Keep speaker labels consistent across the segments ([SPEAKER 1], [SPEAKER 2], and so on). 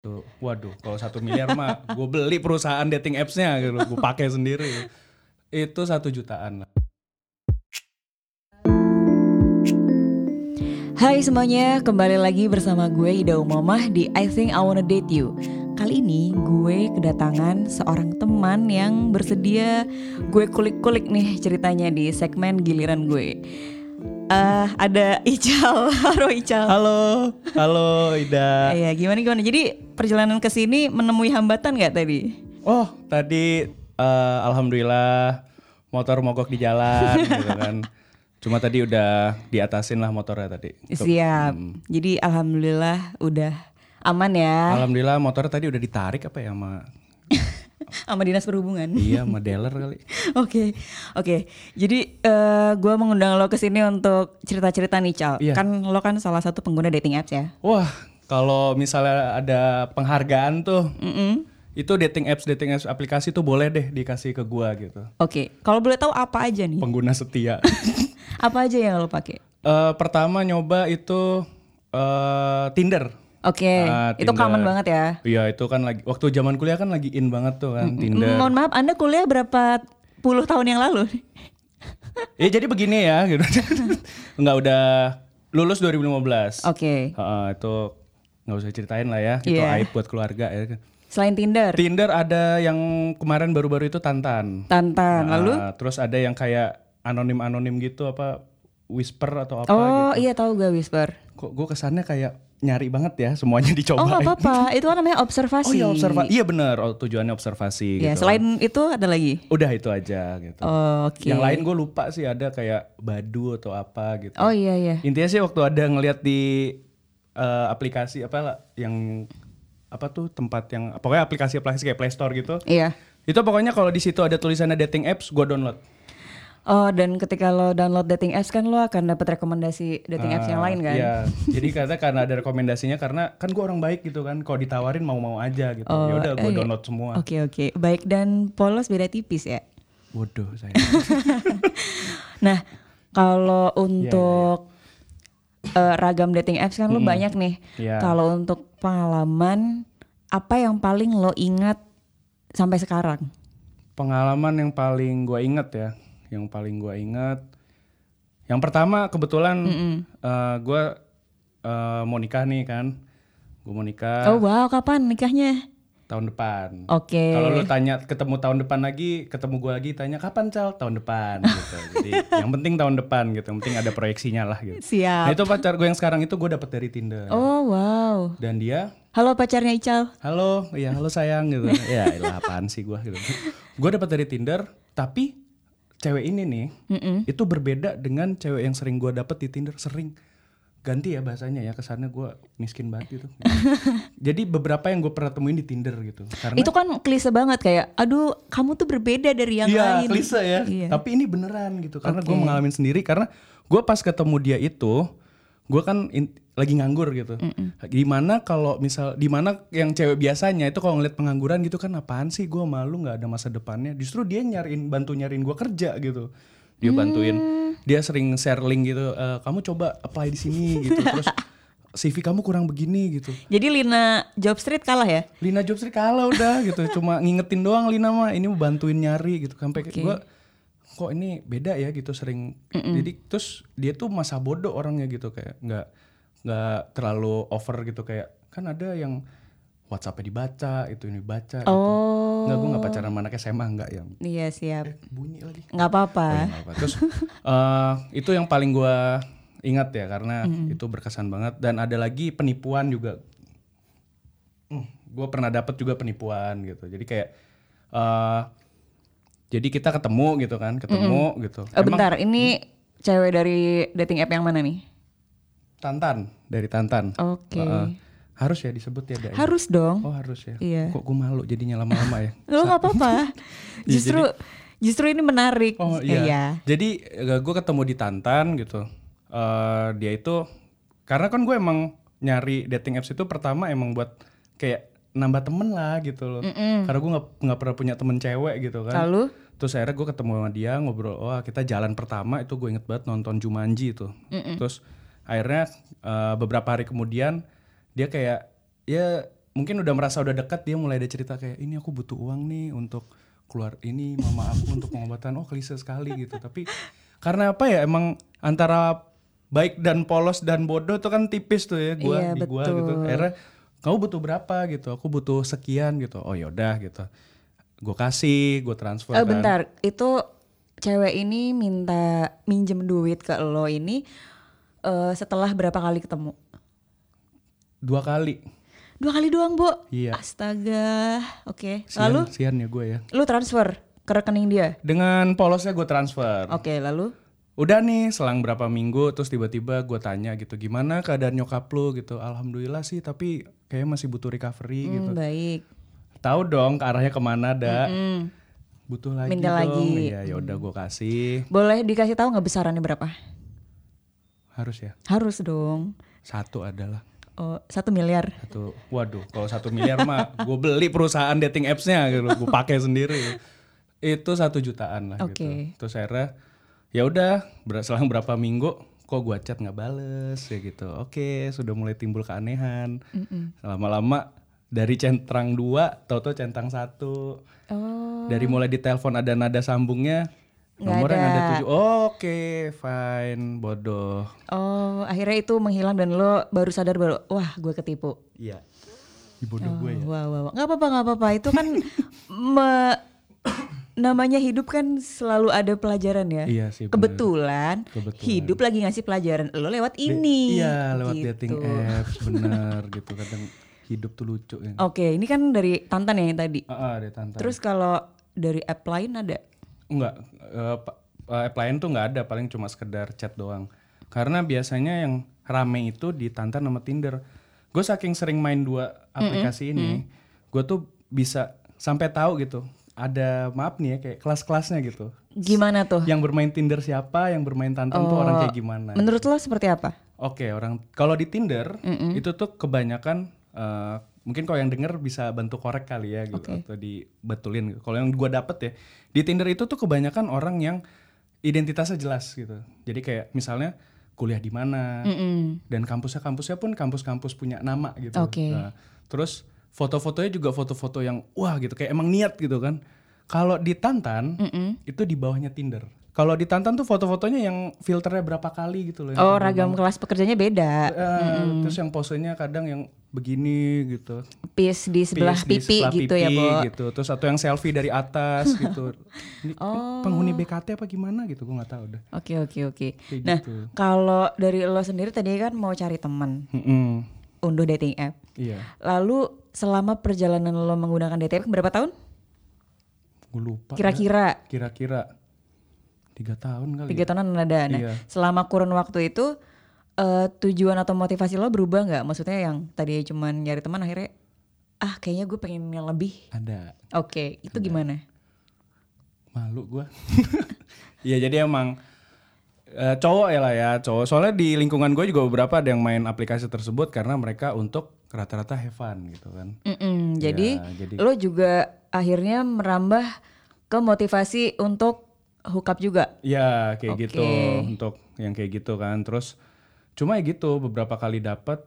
[SPEAKER 1] Gitu. Waduh, kalau satu miliar mah gue beli perusahaan dating apps-nya gitu, gue pakai sendiri. Itu satu jutaan.
[SPEAKER 2] Hai semuanya, kembali lagi bersama gue Ida Umamah di I Think I Wanna Date You Kali ini gue kedatangan seorang teman yang bersedia gue kulik-kulik nih ceritanya di segmen giliran gue Eh, Ada Ical, halo Ical
[SPEAKER 1] Halo, halo Ida.
[SPEAKER 2] Iya gimana-gimana, jadi perjalanan ke sini menemui hambatan gak tadi?
[SPEAKER 1] Oh, tadi eh, alhamdulillah motor mogok di jalan gitu kan. Cuma tadi udah diatasin lah motornya tadi.
[SPEAKER 2] Iya. Siap, jadi alhamdulillah udah aman ya
[SPEAKER 1] Alhamdulillah motornya tadi udah ditarik apa ya sama
[SPEAKER 2] sama dinas perhubungan
[SPEAKER 1] iya sama dealer kali.
[SPEAKER 2] Oke, oke. Jadi eh gue mengundang lo ke sini untuk cerita-cerita nih, Cal.
[SPEAKER 1] Iya.
[SPEAKER 2] Kan lo kan salah satu pengguna dating apps ya.
[SPEAKER 1] Wah, kalau misalnya ada penghargaan tuh,
[SPEAKER 2] Mm-mm.
[SPEAKER 1] itu dating apps dating apps aplikasi tuh boleh deh dikasih ke gua gitu.
[SPEAKER 2] Oke. Kalau boleh tahu apa aja nih?
[SPEAKER 1] Pengguna setia.
[SPEAKER 2] apa aja yang lo pakai?
[SPEAKER 1] Eh, pertama nyoba itu eh, Tinder.
[SPEAKER 2] Oke,
[SPEAKER 1] Ah,
[SPEAKER 2] itu
[SPEAKER 1] Tinder.
[SPEAKER 2] common banget ya.
[SPEAKER 1] Iya, itu kan lagi waktu zaman kuliah kan lagi in banget tuh kan Tinder.
[SPEAKER 2] Mohon maaf, Anda kuliah berapa puluh tahun yang lalu?
[SPEAKER 1] Ya jadi begini ya gitu. Enggak udah lulus 2015.
[SPEAKER 2] Oke.
[SPEAKER 1] Heeh, itu nggak usah ceritain lah ya. Itu
[SPEAKER 2] Iya.
[SPEAKER 1] aib buat keluarga ya.
[SPEAKER 2] Selain Tinder,
[SPEAKER 1] Tinder ada yang kemarin baru-baru itu Tantan.
[SPEAKER 2] Tantan, lalu
[SPEAKER 1] Ah, terus ada yang kayak anonim-anonim gitu apa whisper atau apa gitu?
[SPEAKER 2] Oh, iya tahu gue Whisper.
[SPEAKER 1] Kok gue kesannya kayak nyari banget ya semuanya
[SPEAKER 2] Oh,
[SPEAKER 1] dicoba.
[SPEAKER 2] nggak apa-apa. itu kan namanya observasi.
[SPEAKER 1] iya observasi. Iya bener oh, tujuannya observasi
[SPEAKER 2] Ya,
[SPEAKER 1] gitu.
[SPEAKER 2] selain itu ada lagi.
[SPEAKER 1] Udah itu aja gitu.
[SPEAKER 2] Oh, Oke.
[SPEAKER 1] Yang lain gue lupa sih ada kayak badu atau apa gitu.
[SPEAKER 2] Oh iya iya.
[SPEAKER 1] Intinya sih waktu ada ngelihat di eh, aplikasi apa lah, yang apa tuh tempat yang pokoknya aplikasi-aplikasi kayak Play Store gitu.
[SPEAKER 2] Iya.
[SPEAKER 1] Itu pokoknya kalau di situ ada tulisannya dating apps, gue download.
[SPEAKER 2] Oh dan ketika lo download dating apps kan lo akan dapat rekomendasi dating apps yang lain kan?
[SPEAKER 1] Iya. Jadi karena karena ada rekomendasinya karena kan gue orang baik gitu kan. Kalau ditawarin mau-mau aja gitu.
[SPEAKER 2] Oh,
[SPEAKER 1] ya udah
[SPEAKER 2] iya.
[SPEAKER 1] gue download semua.
[SPEAKER 2] Oke oke baik dan polos beda tipis ya.
[SPEAKER 1] Bodoh saya.
[SPEAKER 2] Nah
[SPEAKER 1] Iya,
[SPEAKER 2] kalau untuk eh, ragam dating apps kan lo banyak nih.
[SPEAKER 1] Iya.
[SPEAKER 2] Kalau untuk pengalaman apa yang paling lo ingat sampai sekarang?
[SPEAKER 1] Pengalaman yang paling gue inget ya, yang paling gue inget. Yang pertama kebetulan gue mau nikah nih kan. Gue mau nikah
[SPEAKER 2] Oh wow kapan nikahnya?
[SPEAKER 1] tahun depan.
[SPEAKER 2] Oke.
[SPEAKER 1] Kalau lu tanya ketemu tahun depan lagi, ketemu gue lagi tanya kapan cal tahun depan gitu. Jadi yang penting tahun depan gitu, yang penting ada proyeksinya lah gitu. Nah
[SPEAKER 2] Siap.
[SPEAKER 1] itu pacar gue yang sekarang itu gue dapet dari Tinder
[SPEAKER 2] Oh wow.
[SPEAKER 1] dan dia
[SPEAKER 2] Halo pacarnya Ical.
[SPEAKER 1] halo ya halo sayang gitu ya elah, apaan sih gue gitu gue dapet dari Tinder tapi cewek ini nih
[SPEAKER 2] Mm-mm.
[SPEAKER 1] itu berbeda dengan cewek yang sering gue dapet di Tinder sering ganti ya bahasanya ya kesannya gue miskin banget gitu jadi beberapa yang gue pernah temuin di Tinder gitu karena
[SPEAKER 2] Itu kan klise banget kayak, aduh kamu tuh berbeda dari yang
[SPEAKER 1] Iya,
[SPEAKER 2] lain.
[SPEAKER 1] klise ya.
[SPEAKER 2] Iya.
[SPEAKER 1] Tapi ini beneran gitu karena gue
[SPEAKER 2] Oke.
[SPEAKER 1] mengalami sendiri karena gue pas ketemu dia itu gue kan in- lagi nganggur gitu. Gimana kalau misal dimana yang cewek biasanya itu kalau ngeliat pengangguran gitu kan apaan sih gue malu nggak ada masa depannya. Justru dia nyariin bantu nyariin gue kerja gitu. Dia bantuin.
[SPEAKER 2] Hmm.
[SPEAKER 1] Dia sering share link gitu. "Eh, kamu coba apply di sini gitu. Terus CV kamu kurang begini gitu.
[SPEAKER 2] Jadi Lina Job Street kalah ya?
[SPEAKER 1] Lina Jobs sih kalah udah gitu cuma ngingetin doang Lina mah ini mau bantuin nyari gitu sampai
[SPEAKER 2] Oke.
[SPEAKER 1] gua kok ini beda ya gitu sering jadi terus dia tuh masa bodoh orangnya gitu kayak nggak nggak terlalu over gitu kayak kan ada yang WhatsApp-nya dibaca itu ini baca
[SPEAKER 2] Oh.
[SPEAKER 1] nggak gue nggak pacaran sama anak SMA nggak ya
[SPEAKER 2] Iya siap.
[SPEAKER 1] bunyi lagi
[SPEAKER 2] Nggak apa-apa.
[SPEAKER 1] Ya, nggak apa. terus eh, itu yang paling gua ingat ya karena itu berkesan banget dan ada lagi penipuan juga Hmm, gua pernah dapat juga penipuan gitu jadi kayak eh jadi kita ketemu gitu kan ketemu gitu
[SPEAKER 2] Eh, bentar, ini cewek dari dating app yang mana nih?
[SPEAKER 1] Tantan dari Tantan
[SPEAKER 2] Oke.
[SPEAKER 1] Heeh. harus ya disebut ya Dai?
[SPEAKER 2] Harus dong.
[SPEAKER 1] oh harus ya
[SPEAKER 2] Iya.
[SPEAKER 1] kok gua malu jadinya lama-lama ya
[SPEAKER 2] Lo nggak apa-apa. Justru justru ini menarik.
[SPEAKER 1] Iya,
[SPEAKER 2] Eh,
[SPEAKER 1] Oh iya. Jadi gue ketemu di Tantan gitu. Eh dia itu karena kan gue emang nyari dating apps itu pertama emang buat kayak nambah temen lah gitu loh. Karena gue nggak nggak pernah punya temen cewek gitu kan.
[SPEAKER 2] Lalu Eh,
[SPEAKER 1] Terus akhirnya gue ketemu sama dia ngobrol. Wah kita jalan pertama itu gue inget banget nonton Jumanji itu. Terus akhirnya eh, beberapa hari kemudian dia kayak ya mungkin udah merasa udah dekat dia mulai ada cerita kayak ini aku butuh uang nih untuk keluar ini mama aku untuk pengobatan oh klise sekali gitu tapi karena apa ya emang antara baik dan polos dan bodoh tuh kan tipis tuh ya gua
[SPEAKER 2] Iya,
[SPEAKER 1] di gua gitu
[SPEAKER 2] betul.
[SPEAKER 1] akhirnya kamu butuh berapa gitu aku butuh sekian gitu oh yaudah gitu gue kasih gue transfer
[SPEAKER 2] Eh
[SPEAKER 1] kan.
[SPEAKER 2] bentar, itu cewek ini minta minjem duit ke lo ini eh, setelah berapa kali ketemu?
[SPEAKER 1] dua kali
[SPEAKER 2] Dua kali doang, Bu.
[SPEAKER 1] Iya.
[SPEAKER 2] Astaga. Oke.
[SPEAKER 1] sian,
[SPEAKER 2] Ah, Lalu
[SPEAKER 1] sian ya gue ya
[SPEAKER 2] lu transfer ke rekening dia.
[SPEAKER 1] dengan polosnya gue transfer
[SPEAKER 2] Oke, lalu
[SPEAKER 1] Udah nih selang berapa minggu terus tiba-tiba gue tanya gitu gimana keadaan nyokap lu gitu. Alhamdulillah sih tapi kayaknya masih butuh recovery
[SPEAKER 2] Hmm,
[SPEAKER 1] gitu.
[SPEAKER 2] baik.
[SPEAKER 1] Tahu dong ke arahnya kemana dah.
[SPEAKER 2] Hmm.
[SPEAKER 1] Butuh lagi
[SPEAKER 2] Minta
[SPEAKER 1] dong.
[SPEAKER 2] lagi. Mm.
[SPEAKER 1] Iya ya udah gue kasih
[SPEAKER 2] Boleh dikasih tahu nggak besarannya berapa?
[SPEAKER 1] harus ya
[SPEAKER 2] Harus dong.
[SPEAKER 1] satu adalah
[SPEAKER 2] Oh, satu miliar.
[SPEAKER 1] satu. Waduh kalau satu miliar mah gue beli perusahaan dating appsnya gitu. Gue pakai sendiri. Itu satu jutaan lah
[SPEAKER 2] Oke.
[SPEAKER 1] gitu. Terus akhirnya ya udah ber- selang berapa minggu kok gue chat nggak bales ya gitu. Oke sudah mulai timbul keanehan.
[SPEAKER 2] Mm-mm.
[SPEAKER 1] lama-lama dari centang dua tau-tau centang satu
[SPEAKER 2] Oh,
[SPEAKER 1] dari mulai ditelepon ada nada sambungnya
[SPEAKER 2] Nggak
[SPEAKER 1] nomornya
[SPEAKER 2] ada.
[SPEAKER 1] nada tujuh oke fine bodoh
[SPEAKER 2] oh, akhirnya itu menghilang dan lo baru sadar baru, wah, gue ketipu.
[SPEAKER 1] iya
[SPEAKER 2] Oh.
[SPEAKER 1] bodoh gue ya
[SPEAKER 2] Wow, wow, wow. Nggak apa-apa, nggak apa-apa. Itu kan me- namanya hidup kan selalu ada pelajaran ya.
[SPEAKER 1] iya sih bener.
[SPEAKER 2] Kebetulan,
[SPEAKER 1] Kebetulan.
[SPEAKER 2] hidup lagi ngasih pelajaran. Lo lewat
[SPEAKER 1] Di-
[SPEAKER 2] ini.
[SPEAKER 1] iya lewat
[SPEAKER 2] gitu.
[SPEAKER 1] dating apps bener gitu kadang hidup tuh lucu ya
[SPEAKER 2] Oke, ini kan dari Tantan ya yang tadi.
[SPEAKER 1] ah, ah, ada tantangan
[SPEAKER 2] Terus kalau dari app lain ada?
[SPEAKER 1] Enggak, eh, pa- eh, app lain tuh nggak ada, paling cuma sekedar chat doang. Karena biasanya yang rame itu di Tantan sama Tinder. Gue saking sering main dua aplikasi ini, gue tuh bisa sampai tahu gitu. Ada maaf nih ya kayak kelas-kelasnya gitu.
[SPEAKER 2] Gimana tuh?
[SPEAKER 1] Yang bermain Tinder siapa, yang bermain Tantan tuh orang kayak gimana.
[SPEAKER 2] Menurut lo seperti apa?
[SPEAKER 1] Oke, orang kalau di Tinder itu tuh kebanyakan eh, mungkin kalau yang denger bisa bantu korek kali ya gitu atau dibetulin. Kalau yang gua dapet ya, di Tinder itu tuh kebanyakan orang yang identitasnya jelas gitu. Jadi kayak misalnya kuliah di mana
[SPEAKER 2] Mm. Mm-mm.
[SPEAKER 1] dan kampusnya kampusnya pun kampus-kampus punya nama gitu.
[SPEAKER 2] Oke.
[SPEAKER 1] Nah, terus foto-fotonya juga foto-foto yang wah gitu kayak emang niat gitu kan. Kalau di Tantan
[SPEAKER 2] Mm-mm.
[SPEAKER 1] itu di bawahnya Tinder. Kalau di Tantan tuh foto-fotonya yang filternya berapa kali gitu loh. yang
[SPEAKER 2] Oh, ragam kelas pekerjanya beda.
[SPEAKER 1] Eh, Terus yang posenya kadang yang begini gitu.
[SPEAKER 2] Pis di sebelah
[SPEAKER 1] Piece di
[SPEAKER 2] pipi
[SPEAKER 1] sebelah
[SPEAKER 2] gitu ya,
[SPEAKER 1] pipi
[SPEAKER 2] Bo.
[SPEAKER 1] gitu. Terus satu yang selfie dari atas gitu. Ini
[SPEAKER 2] Oh.
[SPEAKER 1] penghuni BKT apa gimana gitu, gue nggak tahu deh.
[SPEAKER 2] Oke, oke, oke.
[SPEAKER 1] Kayak
[SPEAKER 2] Nah,
[SPEAKER 1] gitu.
[SPEAKER 2] kalau dari lo sendiri tadi kan mau cari teman,
[SPEAKER 1] Mm-mm.
[SPEAKER 2] unduh dating app.
[SPEAKER 1] Iya,
[SPEAKER 2] Lalu selama perjalanan lo menggunakan dating app berapa tahun?
[SPEAKER 1] gue lupa.
[SPEAKER 2] Kira-kira
[SPEAKER 1] ya. Kira-kira tiga tahun kali.
[SPEAKER 2] tiga tahunan ada. Nah,
[SPEAKER 1] Iya.
[SPEAKER 2] selama kurun waktu itu eh, tujuan atau motivasi lo berubah nggak? Maksudnya yang tadi cuman nyari teman akhirnya ah kayaknya gue pengen yang lebih.
[SPEAKER 1] ya. Ada.
[SPEAKER 2] Oke, itu gimana?
[SPEAKER 1] malu gua Iya jadi emang eh, cowok ya lah ya cowok soalnya di lingkungan gue juga beberapa ada yang main aplikasi tersebut karena mereka untuk rata-rata have fun gitu kan
[SPEAKER 2] Mm-mm, jadi,
[SPEAKER 1] Ya, jadi-
[SPEAKER 2] lo juga akhirnya merambah ke motivasi untuk hookup juga.
[SPEAKER 1] Ya kayak
[SPEAKER 2] Oke.
[SPEAKER 1] gitu untuk yang kayak gitu kan. Terus cuma ya gitu beberapa kali dapat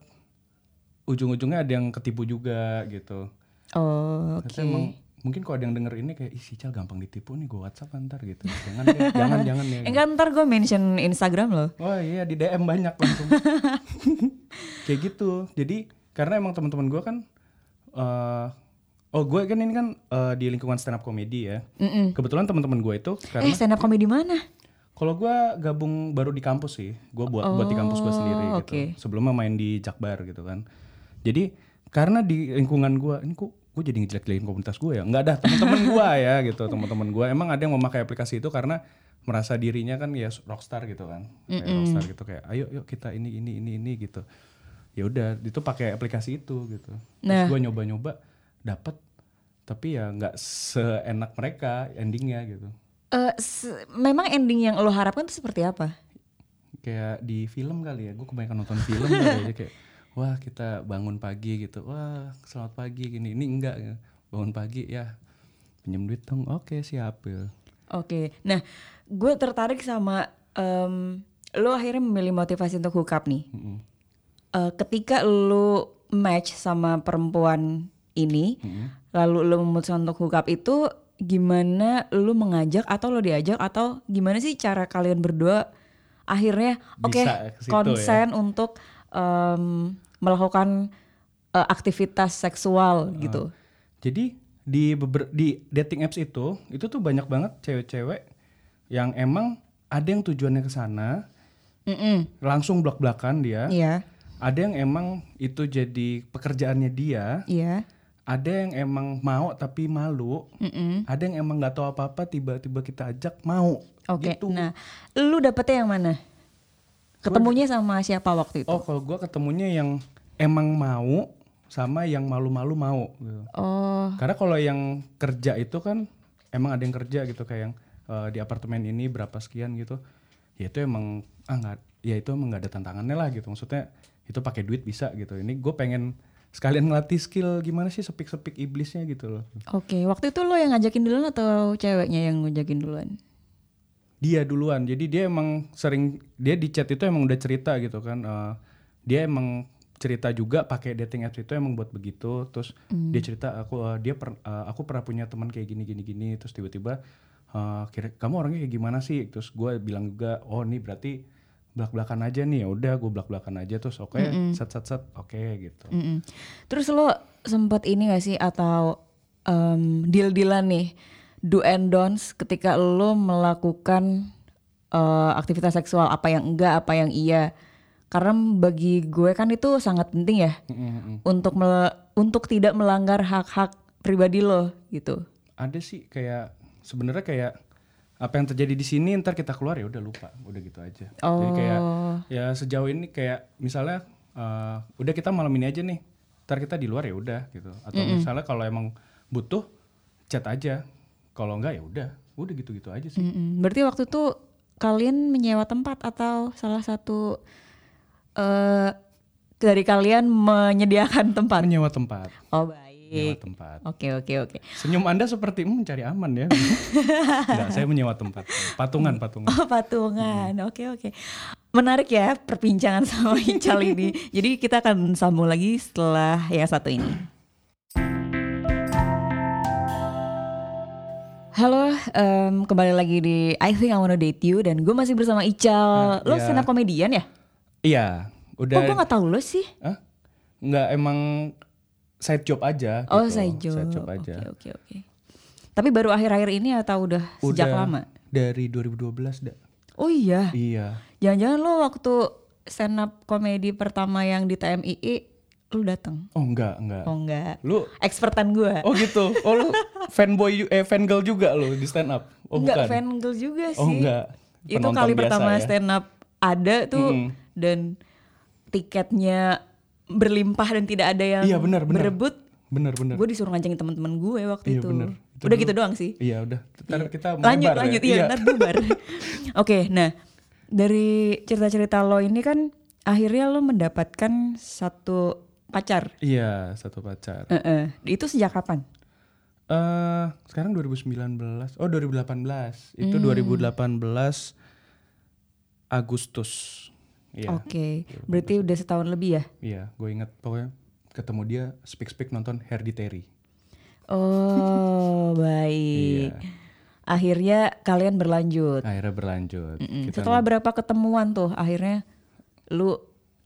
[SPEAKER 1] ujung-ujungnya ada yang ketipu juga gitu.
[SPEAKER 2] Oh, oke.
[SPEAKER 1] Terus emang mungkin kalau ada yang denger ini kayak ih si Cal gampang ditipu nih gue WhatsApp ntar gitu. Jangan ya, jangan jangan ya.
[SPEAKER 2] Enggak ntar gue mention Instagram lo.
[SPEAKER 1] Oh iya di DM banyak langsung. kayak gitu. Jadi karena emang teman-teman gue kan eh, oh gue kan ini kan eh, di lingkungan stand up comedy ya.
[SPEAKER 2] Mm-mm.
[SPEAKER 1] Kebetulan teman-teman gue itu karena
[SPEAKER 2] Eh stand up comedy mana?
[SPEAKER 1] Kalau gua gabung baru di kampus sih, gua buat buat di kampus gua sendiri gitu.
[SPEAKER 2] Oh, oke.
[SPEAKER 1] Sebelumnya main di Jakbar gitu kan. Jadi karena di lingkungan gua ini kok gue jadi ngejelek-jelekin komunitas gua ya? Nggak ada teman-teman gua ya gitu, teman-teman gua emang ada yang memakai aplikasi itu karena merasa dirinya kan ya rockstar gitu kan, kayak rockstar gitu kayak ayo yuk kita ini ini ini ini gitu. Ya udah itu pakai aplikasi itu gitu. Terus
[SPEAKER 2] Nah.
[SPEAKER 1] gua nyoba-nyoba dapet tapi ya nggak seenak mereka endingnya gitu.
[SPEAKER 2] Eh, se- memang ending yang lo harapkan tuh seperti apa?
[SPEAKER 1] kayak di film kali ya gue kebanyakan nonton film kali ya kayak wah kita bangun pagi gitu wah selamat pagi gini ini enggak ya. bangun pagi ya pinjam duit dong oke siap ya
[SPEAKER 2] Oke, nah gue tertarik sama em, lo akhirnya memilih motivasi untuk hookup nih.
[SPEAKER 1] Mm-mm.
[SPEAKER 2] Eh, ketika lo match sama perempuan ini,
[SPEAKER 1] Mm-hmm.
[SPEAKER 2] lalu lo memutuskan untuk hook up itu gimana lo mengajak atau lo diajak atau gimana sih cara kalian berdua akhirnya oke
[SPEAKER 1] Bisa ke situ ya.
[SPEAKER 2] konsen untuk em, melakukan eh, aktivitas
[SPEAKER 1] Ah.
[SPEAKER 2] seksual gitu.
[SPEAKER 1] Jadi di beber- di dating apps itu itu tuh banyak banget cewek-cewek yang emang ada yang tujuannya ke sana
[SPEAKER 2] Mm-mm.
[SPEAKER 1] langsung blak-blakan dia.
[SPEAKER 2] Iya,
[SPEAKER 1] Ada yang emang itu jadi pekerjaannya dia,
[SPEAKER 2] iya.
[SPEAKER 1] ada yang emang mau tapi malu,
[SPEAKER 2] Mm-mm.
[SPEAKER 1] ada yang emang nggak tahu apa-apa tiba-tiba kita ajak mau.
[SPEAKER 2] Oke.
[SPEAKER 1] Gitu.
[SPEAKER 2] Nah, lu dapetnya yang mana? Ketemunya sama siapa waktu itu?
[SPEAKER 1] Oh, kalau gua ketemunya yang emang mau sama yang malu-malu mau gitu.
[SPEAKER 2] Oh,
[SPEAKER 1] Karena kalau yang kerja itu kan emang ada yang kerja gitu kayak yang eh, di apartemen ini berapa sekian gitu. Ya itu emang ah nggak ya itu emang nggak ada tantangannya lah gitu. Maksudnya itu pakai duit bisa gitu. Ini gue pengen sekalian ngelatih skill gimana sih sepik-sepik iblisnya gitu loh.
[SPEAKER 2] oke. Waktu itu lu yang ngajakin duluan atau ceweknya yang ngajakin duluan?
[SPEAKER 1] Dia duluan. Jadi dia emang sering dia di chat itu emang udah cerita gitu kan. Eh, dia emang cerita juga pakai dating apps itu emang buat begitu. Terus dia cerita aku eh, dia per- eh, aku pernah punya teman kayak gini gini gini. Terus tiba-tiba eh, kira kamu orangnya kayak gimana sih? Terus gue bilang juga oh ini berarti belak belakan aja nih. Ya udah gue belak belakan aja. Terus oke set set set oke gitu.
[SPEAKER 2] Mm-mm. Terus lu sempet ini gak sih atau em, deal-dealan nih do and don'ts ketika lu melakukan eh, aktivitas seksual apa yang enggak, apa yang iya? Karena bagi gue kan itu sangat penting ya
[SPEAKER 1] Mm-mm.
[SPEAKER 2] untuk mele- untuk tidak melanggar hak-hak pribadi lo gitu.
[SPEAKER 1] Ada sih kayak sebenarnya kayak apa yang terjadi di sini ntar kita keluar ya udah lupa udah gitu aja. Jadi kayak
[SPEAKER 2] Oh.
[SPEAKER 1] ya sejauh ini kayak misalnya eh, udah kita malam ini aja nih ntar kita di luar ya udah gitu atau misalnya kalau emang butuh chat aja kalau enggak ya udah udah gitu gitu aja sih
[SPEAKER 2] Mm-mm. Berarti waktu itu kalian menyewa tempat atau salah satu eh dari kalian menyediakan tempat.
[SPEAKER 1] menyewa tempat
[SPEAKER 2] Oh
[SPEAKER 1] menyewa
[SPEAKER 2] baik.
[SPEAKER 1] tempat
[SPEAKER 2] Oke oke oke.
[SPEAKER 1] senyum anda seperti "Hmm, mencari aman ya enggak saya menyewa tempat patungan patungan
[SPEAKER 2] Oh patungan. Oke oke. Menarik ya perbincangan sama Ical ini. Jadi kita akan sambung lagi setelah yang satu ini. Halo, em, kembali lagi di I Think I Wanna Date You dan gue masih bersama Ical.
[SPEAKER 1] Ah,
[SPEAKER 2] lo
[SPEAKER 1] iya.
[SPEAKER 2] stand up comedian ya?
[SPEAKER 1] iya
[SPEAKER 2] Kok gue
[SPEAKER 1] udah
[SPEAKER 2] gak tau lo sih?
[SPEAKER 1] Hah? enggak emang side job aja
[SPEAKER 2] Oh,
[SPEAKER 1] gitu.
[SPEAKER 2] saya
[SPEAKER 1] Side
[SPEAKER 2] job.
[SPEAKER 1] job aja
[SPEAKER 2] Oke, oke, oke. Tapi baru akhir-akhir ini atau udah, sejak
[SPEAKER 1] Udah
[SPEAKER 2] lama?
[SPEAKER 1] dari 2012 dah
[SPEAKER 2] Oh iya.
[SPEAKER 1] iya
[SPEAKER 2] Jangan-jangan lo waktu stand up komedi pertama yang di TMII lo datang.
[SPEAKER 1] oh enggak enggak
[SPEAKER 2] Oh enggak.
[SPEAKER 1] lu
[SPEAKER 2] Expertan gua.
[SPEAKER 1] Oh gitu. Oh lu fanboy ju- eh fangirl juga lu di stand up. Oh
[SPEAKER 2] enggak
[SPEAKER 1] bukan.
[SPEAKER 2] fangirl juga sih.
[SPEAKER 1] oh enggak.
[SPEAKER 2] Itu
[SPEAKER 1] Penonton
[SPEAKER 2] kali
[SPEAKER 1] biasa
[SPEAKER 2] pertama
[SPEAKER 1] ya.
[SPEAKER 2] stand up ada tuh
[SPEAKER 1] Mm-mm.
[SPEAKER 2] dan tiketnya berlimpah dan tidak ada yang
[SPEAKER 1] Iya, benar, benar.
[SPEAKER 2] berebut.
[SPEAKER 1] Bener bener.
[SPEAKER 2] Gue disuruh ngajakin teman-teman gue
[SPEAKER 1] Iya,
[SPEAKER 2] waktu itu.
[SPEAKER 1] bener. Itu
[SPEAKER 2] Udah
[SPEAKER 1] dulu.
[SPEAKER 2] gitu doang sih.
[SPEAKER 1] Iya udah. Ntar kita
[SPEAKER 2] lanjut
[SPEAKER 1] melebar
[SPEAKER 2] lanjut
[SPEAKER 1] ya.
[SPEAKER 2] iya ntar bubar oke nah dari cerita-cerita lo ini kan akhirnya lo mendapatkan satu pacar
[SPEAKER 1] Iya, satu pacar. Eh
[SPEAKER 2] Heeh. itu sejak kapan
[SPEAKER 1] sekarang 2019. Oh 2018. Itu
[SPEAKER 2] Hmm.
[SPEAKER 1] 2018 Agustus. Iya.
[SPEAKER 2] oke berarti udah setahun lebih ya
[SPEAKER 1] Iya, gue inget pokoknya ketemu dia speak speak nonton Hereditary.
[SPEAKER 2] oh baik
[SPEAKER 1] Iya.
[SPEAKER 2] akhirnya kalian berlanjut
[SPEAKER 1] Akhirnya berlanjut.
[SPEAKER 2] Mm-mm.
[SPEAKER 1] Kita
[SPEAKER 2] setelah berapa ketemuan tuh akhirnya lu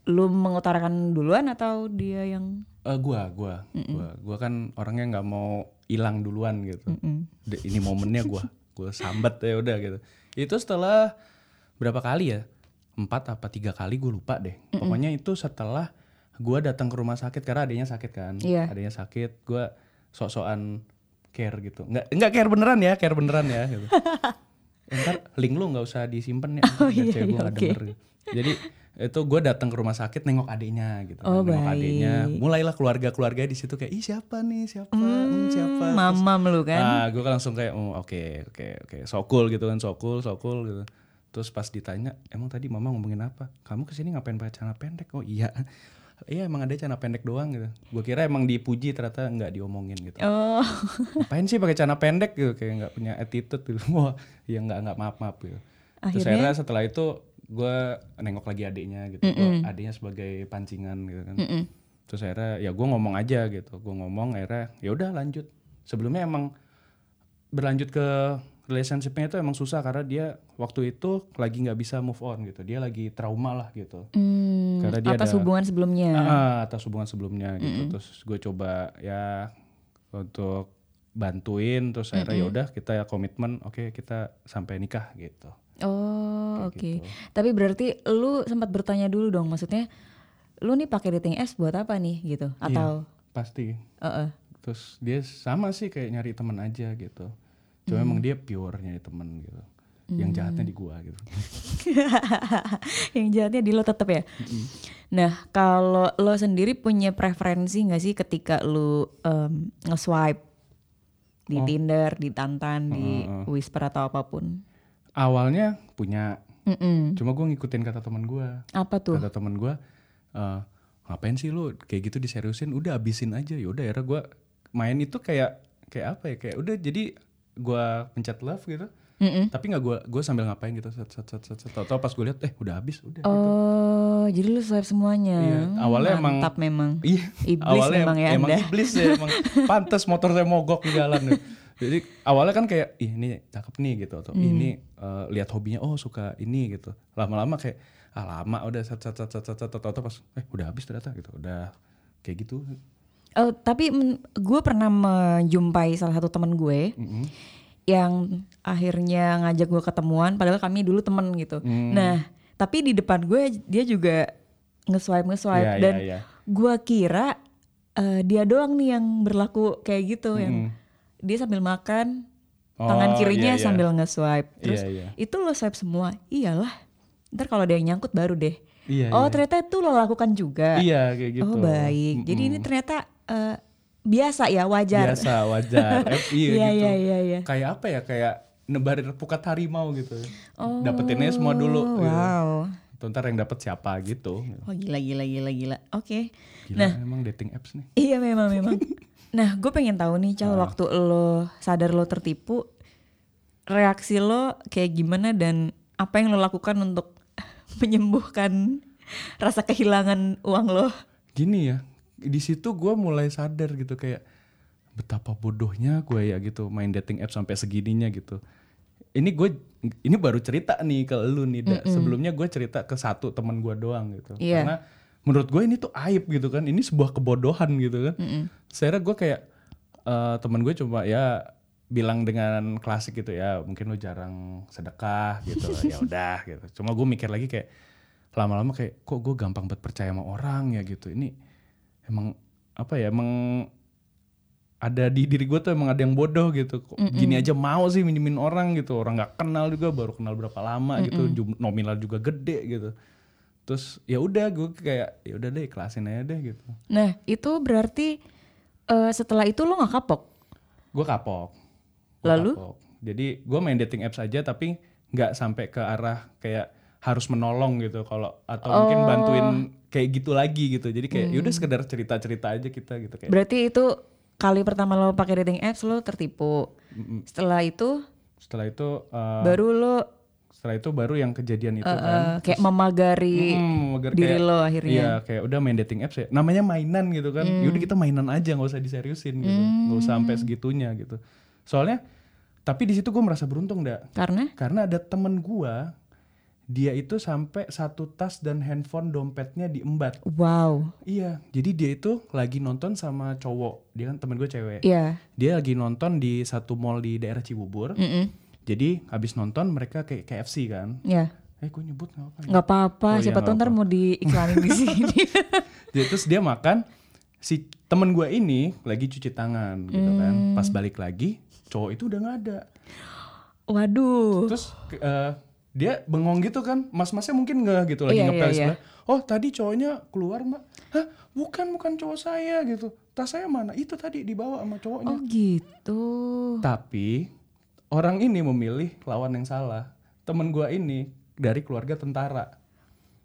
[SPEAKER 2] lu mengutarakan duluan atau dia yang
[SPEAKER 1] Eh gua, gua, gua, gua kan orangnya nggak mau hilang duluan gitu. De- ini momennya gua, gua sambat ya udah gitu. Itu setelah berapa kali ya? Empat apa tiga kali gue lupa deh. Pokoknya itu setelah gua datang ke rumah sakit karena adanya sakit kan,
[SPEAKER 2] Iya.
[SPEAKER 1] adanya sakit, gua sok-sokan care gitu. Nggak nggak care beneran ya, care beneran ya. Gitu. Ntar link lu nggak usah disimpan ya,
[SPEAKER 2] Oh,
[SPEAKER 1] biar
[SPEAKER 2] iya,
[SPEAKER 1] cewek gua
[SPEAKER 2] iya,
[SPEAKER 1] nggak
[SPEAKER 2] oke.
[SPEAKER 1] denger. Jadi itu gue datang ke rumah sakit nengok adiknya gitu,
[SPEAKER 2] Oh,
[SPEAKER 1] nengok adiknya,
[SPEAKER 2] baik.
[SPEAKER 1] mulailah keluarga-keluarga di situ kayak ih siapa nih siapa hmm, siapa
[SPEAKER 2] Hmm,
[SPEAKER 1] Terus,
[SPEAKER 2] mamam lu kan
[SPEAKER 1] ah gue kan langsung kayak oh oke oke oke so cool gitu kan so cool so cool gitu terus pas ditanya emang tadi mama ngomongin apa kamu kesini ngapain pakai celana pendek oh iya iya emang ada celana pendek doang gitu gue kira emang dipuji ternyata nggak diomongin gitu
[SPEAKER 2] oh
[SPEAKER 1] ngapain sih pakai celana pendek gitu kayak nggak punya attitude gitu wah ya nggak nggak maaf maaf gitu terus akhirnya setelah itu gue nengok lagi adiknya gitu Gua adiknya sebagai Oh, pancingan gitu kan terus akhirnya ya gue ngomong aja gitu gue ngomong akhirnya ya udah lanjut sebelumnya emang berlanjut ke relationshipnya itu emang susah karena dia waktu itu lagi nggak bisa move on gitu dia lagi trauma lah gitu
[SPEAKER 2] Hmm,
[SPEAKER 1] Karena dia
[SPEAKER 2] atas
[SPEAKER 1] ada-
[SPEAKER 2] hubungan sebelumnya.
[SPEAKER 1] Ah, atas hubungan sebelumnya gitu terus gue coba ya untuk bantuin terus akhirnya ya udah kita ya komitmen oke kita sampai nikah gitu
[SPEAKER 2] Oh,
[SPEAKER 1] Kayak
[SPEAKER 2] oke.
[SPEAKER 1] gitu.
[SPEAKER 2] Tapi berarti lu sempat bertanya dulu dong, maksudnya lu nih pakai dating apps buat apa nih gitu?
[SPEAKER 1] Iya.
[SPEAKER 2] Atau
[SPEAKER 1] pasti
[SPEAKER 2] Heeh.
[SPEAKER 1] terus dia sama sih kayak nyari teman aja gitu cuma emang dia pure nyari teman gitu yang jahatnya di gua gitu
[SPEAKER 2] yang jahatnya di lo tetap ya. Nah, kalau lo sendiri punya preferensi nggak sih ketika lu em, nge-swipe di
[SPEAKER 1] Oh.
[SPEAKER 2] Tinder, di Tantan, di Whisper atau apapun?
[SPEAKER 1] awalnya punya
[SPEAKER 2] Mm-mm.
[SPEAKER 1] cuma gua ngikutin kata teman gua
[SPEAKER 2] Apa tuh?
[SPEAKER 1] kata teman gua eh, ngapain sih lu kayak gitu diseriusin udah abisin aja yaudah akhirnya gua main itu kayak kayak apa ya kayak udah jadi gua pencet love gitu
[SPEAKER 2] Mm-mm.
[SPEAKER 1] tapi nggak gua gua sambil ngapain gitu set set set set set atau pas gua lihat eh udah habis udah gitu.
[SPEAKER 2] Oh, jadi lu swipe semuanya.
[SPEAKER 1] Iya, awalnya emang-
[SPEAKER 2] Mantap memang.
[SPEAKER 1] Iya,
[SPEAKER 2] Iblis
[SPEAKER 1] awalnya
[SPEAKER 2] memang ya
[SPEAKER 1] emang
[SPEAKER 2] Anda.
[SPEAKER 1] iblis ya emang. Pantes motor saya mogok di jalan. ya. Jadi awalnya kan kayak Ih, ini cakep nih gitu atau
[SPEAKER 2] Hmm.
[SPEAKER 1] "Ih, ini eh, lihat hobinya oh suka ini gitu. Lama-lama kayak ah lama udah sat sat sat sat sat sat atau pas eh udah habis ternyata gitu. Udah kayak gitu.
[SPEAKER 2] Oh, tapi men- gue pernah menjumpai salah satu temen gue
[SPEAKER 1] Mm-mm.
[SPEAKER 2] yang akhirnya ngajak gue ketemuan, padahal kami dulu temen gitu.
[SPEAKER 1] Hmm. Mm.
[SPEAKER 2] Nah, tapi di depan gue dia juga nge-swipe nge-swipe
[SPEAKER 1] Iya,
[SPEAKER 2] dan
[SPEAKER 1] iya, iya.
[SPEAKER 2] gue kira eh, dia doang nih yang berlaku kayak gitu yang dia sambil makan tangan
[SPEAKER 1] Hmm. Oh, iya,
[SPEAKER 2] kirinya
[SPEAKER 1] iya.
[SPEAKER 2] sambil nge-swipe. Terus
[SPEAKER 1] Iya, iya.
[SPEAKER 2] itu lo swipe semua. Iyalah. Ntar kalau ada yang nyangkut baru deh.
[SPEAKER 1] Iya.
[SPEAKER 2] oh,
[SPEAKER 1] iya.
[SPEAKER 2] ternyata itu lo lakukan juga.
[SPEAKER 1] Iya kayak gitu.
[SPEAKER 2] Oh baik. Jadi ini ternyata eh, biasa ya wajar.
[SPEAKER 1] biasa wajar. Eh, iya
[SPEAKER 2] Iya
[SPEAKER 1] gitu.
[SPEAKER 2] iya iya iya.
[SPEAKER 1] Kayak apa ya kayak nebarin pukat harimau gitu.
[SPEAKER 2] Oh,
[SPEAKER 1] Dapetinnya semua dulu. gitu.
[SPEAKER 2] Wow.
[SPEAKER 1] Tuh, ntar yang dapat siapa gitu.
[SPEAKER 2] Wah gila gila gila gila. Oke. Nah,
[SPEAKER 1] Gila emang dating apps nih.
[SPEAKER 2] Iya memang memang. nah gue pengen tahu nih cal waktu lo sadar lo tertipu reaksi lo kayak gimana dan apa yang lo lakukan untuk menyembuhkan rasa kehilangan uang lo.
[SPEAKER 1] Gini ya, di situ gue mulai sadar gitu kayak betapa bodohnya gue ya gitu main dating app sampai segininya gitu. Ini gue ini baru cerita nih ke lu nih. Da. Sebelumnya gue cerita ke satu teman gue doang gitu.
[SPEAKER 2] Iya.
[SPEAKER 1] Karena menurut gue ini tuh aib gitu kan. Ini sebuah kebodohan gitu kan. Saya gue kayak eh, teman gue cuma ya bilang dengan klasik gitu ya mungkin lu jarang sedekah gitu ya udah gitu cuma gue mikir lagi kayak lama-lama kayak kok gue gampang banget percaya sama orang ya gitu ini emang apa ya emang ada di diri gue tuh emang ada yang bodoh gitu Kok gini aja mau sih minjemin orang gitu orang nggak kenal juga baru kenal berapa lama gitu jum- nominal juga gede gitu terus ya udah gue kayak ya udah deh ikhlasin aja deh gitu
[SPEAKER 2] Nah itu berarti eh, setelah itu lo nggak kapok.
[SPEAKER 1] gue kapok Gua
[SPEAKER 2] Lalu?
[SPEAKER 1] kapok. jadi gue main dating apps aja tapi nggak sampai ke arah kayak harus menolong gitu kalau atau mungkin
[SPEAKER 2] Oh.
[SPEAKER 1] bantuin kayak gitu lagi gitu jadi kayak ya udah
[SPEAKER 2] Hmm.
[SPEAKER 1] sekedar cerita cerita aja kita gitu kayak
[SPEAKER 2] Berarti itu kali pertama lo pakai dating apps lo tertipu. Setelah itu
[SPEAKER 1] setelah itu eh,
[SPEAKER 2] baru lo
[SPEAKER 1] setelah itu baru yang kejadian itu
[SPEAKER 2] eh,
[SPEAKER 1] kan
[SPEAKER 2] kayak memagari
[SPEAKER 1] Hmm, mager kayak-
[SPEAKER 2] diri lo akhirnya. Hmm.
[SPEAKER 1] Iya, kayak udah main dating apps ya. Namanya mainan gitu kan. Yaudah kita mainan aja, nggak usah diseriusin gitu. Nggak usah sampai segitunya gitu. Soalnya, tapi di situ gue merasa beruntung, dak.
[SPEAKER 2] Karena
[SPEAKER 1] Karena ada temen gua dia itu sampai satu tas dan handphone dompetnya diembat.
[SPEAKER 2] wow.
[SPEAKER 1] Iya, jadi dia itu lagi nonton sama cowok. Dia kan temen gue cewek.
[SPEAKER 2] Iya.
[SPEAKER 1] Dia lagi nonton di satu mall di daerah Cibubur.
[SPEAKER 2] Mm-mm.
[SPEAKER 1] Jadi habis nonton mereka kayak KFC kan.
[SPEAKER 2] Ya,
[SPEAKER 1] Eh, gue nyebut nggak apa-apa. ya?
[SPEAKER 2] nggak apa-apa.
[SPEAKER 1] Oh iya,
[SPEAKER 2] Siapa tahu
[SPEAKER 1] nggak
[SPEAKER 2] ntar mau diiklanin di sini.
[SPEAKER 1] Jadi terus dia makan si temen gue ini lagi cuci tangan gitu kan. Pas balik lagi cowok itu udah nggak ada.
[SPEAKER 2] Waduh.
[SPEAKER 1] Terus ke- eh, dia bengong gitu kan. Mas-masnya mungkin nggak gitu lagi
[SPEAKER 2] Iya,
[SPEAKER 1] ngepel
[SPEAKER 2] iya, iya.
[SPEAKER 1] sebelah. Oh tadi cowoknya keluar mbak. Hah bukan bukan cowok saya gitu. Tas saya mana? Itu tadi dibawa sama cowoknya.
[SPEAKER 2] Oh gitu.
[SPEAKER 1] Tapi orang ini memilih lawan yang salah. Temen gue ini dari keluarga tentara.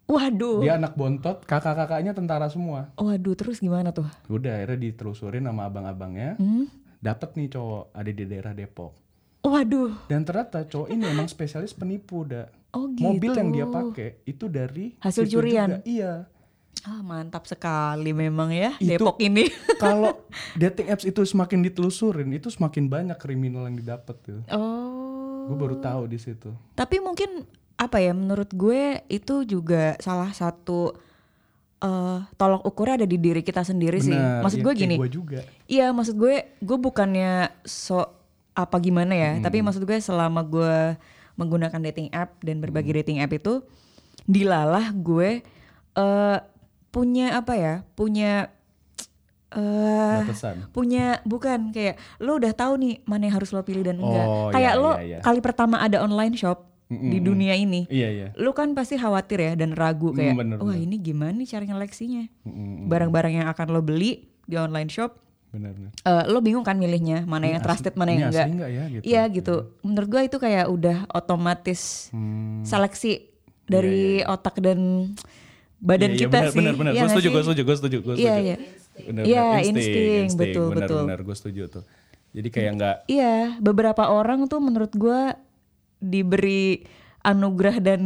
[SPEAKER 2] Waduh.
[SPEAKER 1] Dia anak bontot, kakak-kakaknya tentara semua.
[SPEAKER 2] Waduh. Terus gimana tuh?
[SPEAKER 1] Udah akhirnya ditelusurin sama abang-abangnya.
[SPEAKER 2] Hmm?
[SPEAKER 1] Dapat nih cowok ada di daerah Depok.
[SPEAKER 2] Waduh.
[SPEAKER 1] Dan ternyata cowok ini emang spesialis penipu, Da.
[SPEAKER 2] Oh gitu.
[SPEAKER 1] Mobil yang dia pakai itu dari
[SPEAKER 2] Hasil
[SPEAKER 1] situ
[SPEAKER 2] curian.
[SPEAKER 1] juga. Iya.
[SPEAKER 2] Ah, mantap sekali memang ya
[SPEAKER 1] Itu-
[SPEAKER 2] Depok ini.
[SPEAKER 1] Kalau dating apps itu semakin ditelusurin, itu semakin banyak kriminal yang didapat gitu.
[SPEAKER 2] Oh.
[SPEAKER 1] Gue baru tahu di situ.
[SPEAKER 2] Tapi mungkin apa ya menurut gue itu juga salah satu eh tolok ukurnya ada di diri kita sendiri Iya sih.
[SPEAKER 1] Benar,
[SPEAKER 2] Maksud
[SPEAKER 1] ya,
[SPEAKER 2] gue
[SPEAKER 1] kayak
[SPEAKER 2] gini.
[SPEAKER 1] Gua juga.
[SPEAKER 2] Iya, maksud gue gue bukannya so apa gimana ya, tapi
[SPEAKER 1] Hmm.
[SPEAKER 2] maksud gue selama gue menggunakan dating app dan
[SPEAKER 1] Hmm.
[SPEAKER 2] berbagi dating app itu dilalah gue eh punya apa ya? Punya eh
[SPEAKER 1] Batasan.
[SPEAKER 2] punya bukan kayak lo udah tahu nih mana yang harus lo pilih dan enggak.
[SPEAKER 1] Oh,
[SPEAKER 2] kayak
[SPEAKER 1] iya,
[SPEAKER 2] lo
[SPEAKER 1] iya, iya.
[SPEAKER 2] kali pertama ada online shop di
[SPEAKER 1] Mm-mm.
[SPEAKER 2] dunia ini,
[SPEAKER 1] Iya iya.
[SPEAKER 2] lo kan pasti khawatir ya dan ragu
[SPEAKER 1] Mm,
[SPEAKER 2] kayak
[SPEAKER 1] bener,
[SPEAKER 2] wah
[SPEAKER 1] bener. Mm.
[SPEAKER 2] ini gimana nih cara ngeleksinya?
[SPEAKER 1] Mm-mm.
[SPEAKER 2] Barang-barang yang akan lo beli di online shop
[SPEAKER 1] Benar benar.
[SPEAKER 2] eh, lo bingung kan milihnya mana yang
[SPEAKER 1] Ini Iya,
[SPEAKER 2] trusted
[SPEAKER 1] asli-
[SPEAKER 2] mana
[SPEAKER 1] ini
[SPEAKER 2] yang
[SPEAKER 1] asli
[SPEAKER 2] enggak
[SPEAKER 1] nggak ya gitu.
[SPEAKER 2] iya gitu menurut gue itu kayak udah otomatis
[SPEAKER 1] Hmm.
[SPEAKER 2] seleksi dari otak dan
[SPEAKER 1] Iya,
[SPEAKER 2] badan
[SPEAKER 1] iya,
[SPEAKER 2] kita
[SPEAKER 1] benar,
[SPEAKER 2] sih
[SPEAKER 1] benar benar.
[SPEAKER 2] Iya
[SPEAKER 1] Gue
[SPEAKER 2] nggak
[SPEAKER 1] setuju,
[SPEAKER 2] sih?
[SPEAKER 1] gue setuju, gue setuju, gue
[SPEAKER 2] iya
[SPEAKER 1] setuju.
[SPEAKER 2] iya
[SPEAKER 1] Benar,
[SPEAKER 2] Iya,
[SPEAKER 1] benar.
[SPEAKER 2] insting, betul,
[SPEAKER 1] benar,
[SPEAKER 2] betul.
[SPEAKER 1] Benar, gue setuju tuh. Jadi kayak nggak
[SPEAKER 2] iya beberapa orang tuh menurut gue diberi anugerah dan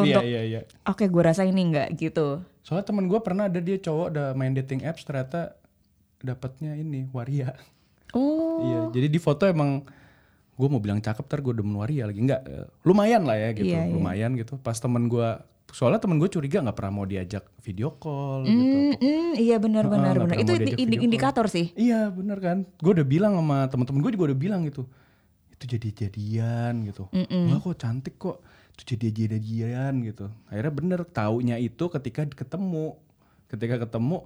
[SPEAKER 1] Iya
[SPEAKER 2] untuk
[SPEAKER 1] iya iya.
[SPEAKER 2] oke gue rasa ini enggak gitu
[SPEAKER 1] Soalnya temen gue pernah ada dia cowok udah main dating apps ternyata dapatnya ini waria.
[SPEAKER 2] oh
[SPEAKER 1] Iya, jadi di foto emang gue mau bilang cakep ntar gue demen waria lagi enggak eh, lumayan lah ya gitu
[SPEAKER 2] Iya, iya.
[SPEAKER 1] lumayan gitu pas temen gue soalnya temen gue curiga nggak pernah mau diajak video call gitu
[SPEAKER 2] Mm, mm, iya benar
[SPEAKER 1] Heeh, nggak
[SPEAKER 2] benar benar
[SPEAKER 1] pernah
[SPEAKER 2] itu
[SPEAKER 1] mau
[SPEAKER 2] indi-
[SPEAKER 1] diajak
[SPEAKER 2] indi-
[SPEAKER 1] video call.
[SPEAKER 2] indikator sih
[SPEAKER 1] Iya bener kan, gue udah bilang sama temen-temen gue juga udah bilang gitu, itu jadi jadian gitu, wah kok cantik kok, itu jadi jadian gitu. Akhirnya bener taunya itu ketika ketemu, ketika ketemu,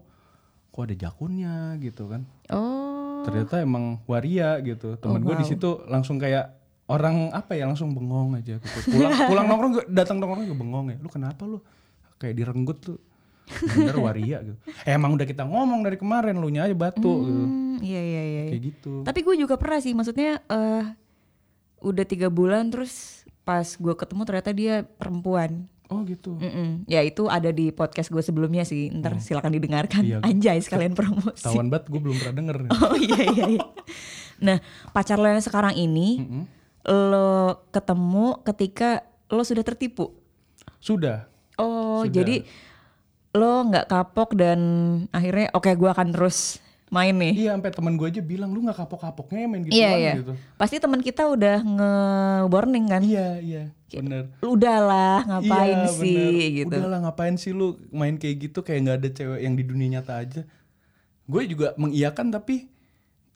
[SPEAKER 1] kok ada jakunnya gitu kan.
[SPEAKER 2] oh
[SPEAKER 1] Ternyata emang waria gitu. Temen
[SPEAKER 2] Oh,
[SPEAKER 1] gue di
[SPEAKER 2] wow.
[SPEAKER 1] situ langsung kayak orang apa ya langsung bengong aja gitu. Pulang pulang nongkrong gua- datang nongkrong gue bengong ya. Lu kenapa lu? Kayak direnggut lu. Bener waria gitu. Emang udah kita ngomong dari kemarin lu aja batu gitu.
[SPEAKER 2] Hmm, iya iya iya iya.
[SPEAKER 1] Kayak gitu.
[SPEAKER 2] Tapi gue juga pernah sih, maksudnya eh udah tiga bulan terus pas gue ketemu ternyata dia perempuan.
[SPEAKER 1] Oh gitu.
[SPEAKER 2] Mm-mm. Ya itu ada di podcast gue sebelumnya sih, ntar silakan didengarkan.
[SPEAKER 1] Hmm. Iya, gua-
[SPEAKER 2] Anjay sekalian promosi.
[SPEAKER 1] Tawan banget gue belum pernah denger.
[SPEAKER 2] Oh iya iya. iya. Nah pacar lo yang sekarang ini
[SPEAKER 1] Mm-mm.
[SPEAKER 2] lo ketemu ketika lo sudah tertipu.
[SPEAKER 1] Sudah.
[SPEAKER 2] Oh
[SPEAKER 1] Sudah.
[SPEAKER 2] jadi lo nggak kapok dan akhirnya oke gue akan terus main nih.
[SPEAKER 1] Iya sampai teman gue aja bilang lu nggak kapok-kapoknya ya main gitu
[SPEAKER 2] Eh. Iya iya.
[SPEAKER 1] gitu.
[SPEAKER 2] Pasti teman kita udah nge-warning kan.
[SPEAKER 1] Iya iya bener.
[SPEAKER 2] Udahlah, ngapain
[SPEAKER 1] Iya,
[SPEAKER 2] sih
[SPEAKER 1] bener.
[SPEAKER 2] gitu.
[SPEAKER 1] Udahlah ngapain sih lu main kayak gitu kayak nggak ada cewek yang di dunia nyata aja. Gue juga mengiyakan tapi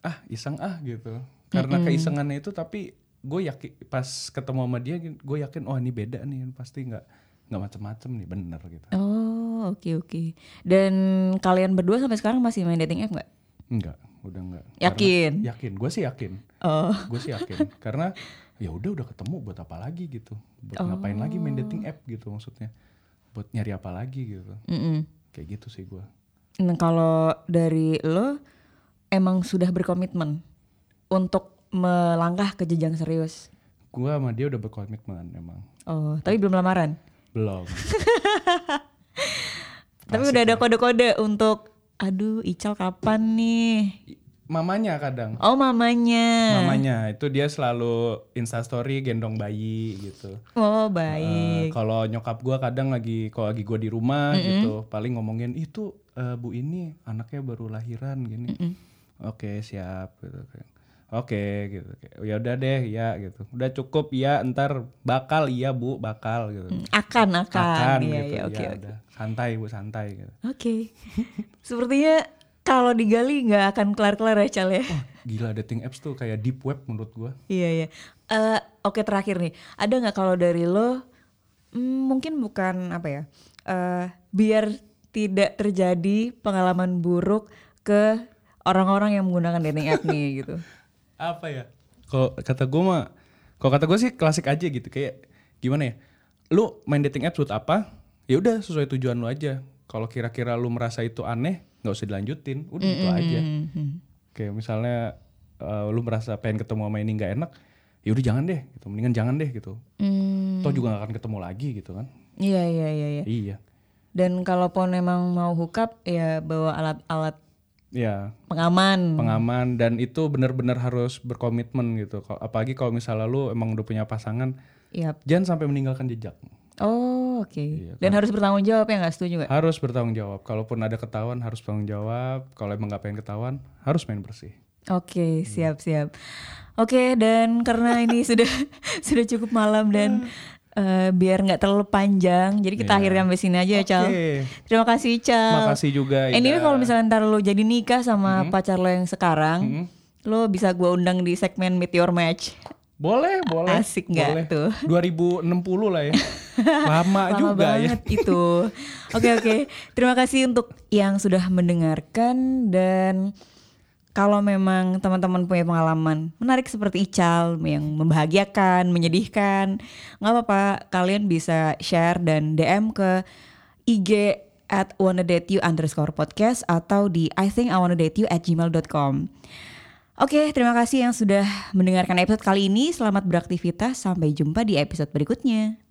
[SPEAKER 1] ah iseng ah gitu. Karena keisengannya itu tapi gue yakin pas ketemu sama dia gue yakin oh ini beda nih pasti nggak nggak macem-macem nih bener gitu.
[SPEAKER 2] Oh, oke oke. Dan kalian berdua sampai sekarang masih main dating app nggak?
[SPEAKER 1] Enggak, udah enggak.
[SPEAKER 2] Yakin?
[SPEAKER 1] yakin, gue sih yakin.
[SPEAKER 2] Oh,
[SPEAKER 1] gue sih yakin karena ya udah udah ketemu buat apa lagi gitu buat ngapain lagi main dating app gitu maksudnya buat nyari apa lagi gitu
[SPEAKER 2] mm-mm.
[SPEAKER 1] kayak gitu sih gue
[SPEAKER 2] Nah, kalau dari lo emang sudah berkomitmen untuk melangkah ke jenjang serius.
[SPEAKER 1] gue sama dia udah berkomitmen emang
[SPEAKER 2] Oh, tapi belum lamaran.
[SPEAKER 1] belum
[SPEAKER 2] tapi udah ada kode-kode untuk aduh, Ical kapan nih?
[SPEAKER 1] I- mamanya kadang
[SPEAKER 2] Oh, mamanya.
[SPEAKER 1] mamanya itu dia selalu instastory gendong bayi gitu Eh,
[SPEAKER 2] Oh, baik.
[SPEAKER 1] kalau nyokap gua kadang lagi kalau lagi gua di rumah gitu paling ngomongin itu eh, bu ini anaknya baru lahiran gini oke siap gitu kan oke gitu ya udah deh ya gitu udah cukup ya ntar bakal iya bu bakal gitu
[SPEAKER 2] Akan, akan.
[SPEAKER 1] akan
[SPEAKER 2] Mm, Iya,
[SPEAKER 1] gitu
[SPEAKER 2] iya,
[SPEAKER 1] ya
[SPEAKER 2] oke, oke.
[SPEAKER 1] udah santai bu santai gitu
[SPEAKER 2] Oke. Sepertinya kalau digali nggak akan kelar-kelar ya Cal ya.
[SPEAKER 1] gila dating apps tuh kayak deep web menurut gua
[SPEAKER 2] Iya iya. Eh, Oke terakhir nih, ada nggak kalau dari lo mm, mungkin bukan apa ya? eh, biar tidak terjadi pengalaman buruk ke orang-orang yang menggunakan dating app nih gitu.
[SPEAKER 1] apa ya? Kalau kata gue mah, kalau kata gue sih klasik aja gitu kayak gimana ya? Lu main dating apps buat apa? Ya udah sesuai tujuan lu aja. Kalau kira-kira lu merasa itu aneh, nggak usah dilanjutin. Udah itu aja.
[SPEAKER 2] Mhm.
[SPEAKER 1] Kayak misalnya eh, lu merasa pengen ketemu sama ini nggak enak, ya udah jangan deh. Gitu. Mendingan jangan deh gitu.
[SPEAKER 2] Hmm,
[SPEAKER 1] Toh juga gak akan ketemu lagi gitu kan?
[SPEAKER 2] Iya iya iya. iya.
[SPEAKER 1] Iya.
[SPEAKER 2] Dan kalaupun emang mau hookup ya bawa alat-alat
[SPEAKER 1] Iya.
[SPEAKER 2] pengaman.
[SPEAKER 1] pengaman dan itu benar-benar harus berkomitmen gitu. Kalau- Apalagi kalau misalnya lu emang udah punya pasangan,
[SPEAKER 2] Yap.
[SPEAKER 1] jangan sampai meninggalkan jejak.
[SPEAKER 2] Oh Oh, oke.
[SPEAKER 1] Iya,
[SPEAKER 2] Dan harus bertanggung jawab ya nggak setuju nggak?
[SPEAKER 1] Harus bertanggung jawab. Kalaupun ada ketahuan harus bertanggung jawab. Kalau emang nggak pengen ketahuan harus main bersih. Hmm.
[SPEAKER 2] Oke, siap siap. Oke, dan karena ini sudah sudah cukup malam dan
[SPEAKER 1] Hmm.
[SPEAKER 2] eh, biar nggak terlalu panjang, jadi kita akhirnya sampai sini aja ya, Cal. Terima kasih, Cal.
[SPEAKER 1] Iya. Makasih juga. Ida. Hmm.
[SPEAKER 2] Anyway, kalau misalnya ntar lo jadi nikah sama pacar lo yang sekarang, lo bisa gua undang di segmen Meteor Match.
[SPEAKER 1] Boleh, boleh.
[SPEAKER 2] Asik
[SPEAKER 1] boleh.
[SPEAKER 2] nggak tuh?
[SPEAKER 1] 2060 lah ya. Lama,
[SPEAKER 2] Lama
[SPEAKER 1] juga ya.
[SPEAKER 2] banget itu. Oke oke. Terima kasih untuk yang sudah mendengarkan dan kalau memang teman-teman punya pengalaman menarik seperti Ical yang membahagiakan, menyedihkan, nggak apa-apa. Kalian bisa share dan DM ke IG at wanna date you underscore podcast atau di I think I wanna date you at gmail.com. Oke, terima kasih yang sudah mendengarkan episode kali ini. Selamat beraktivitas. Sampai jumpa di episode berikutnya.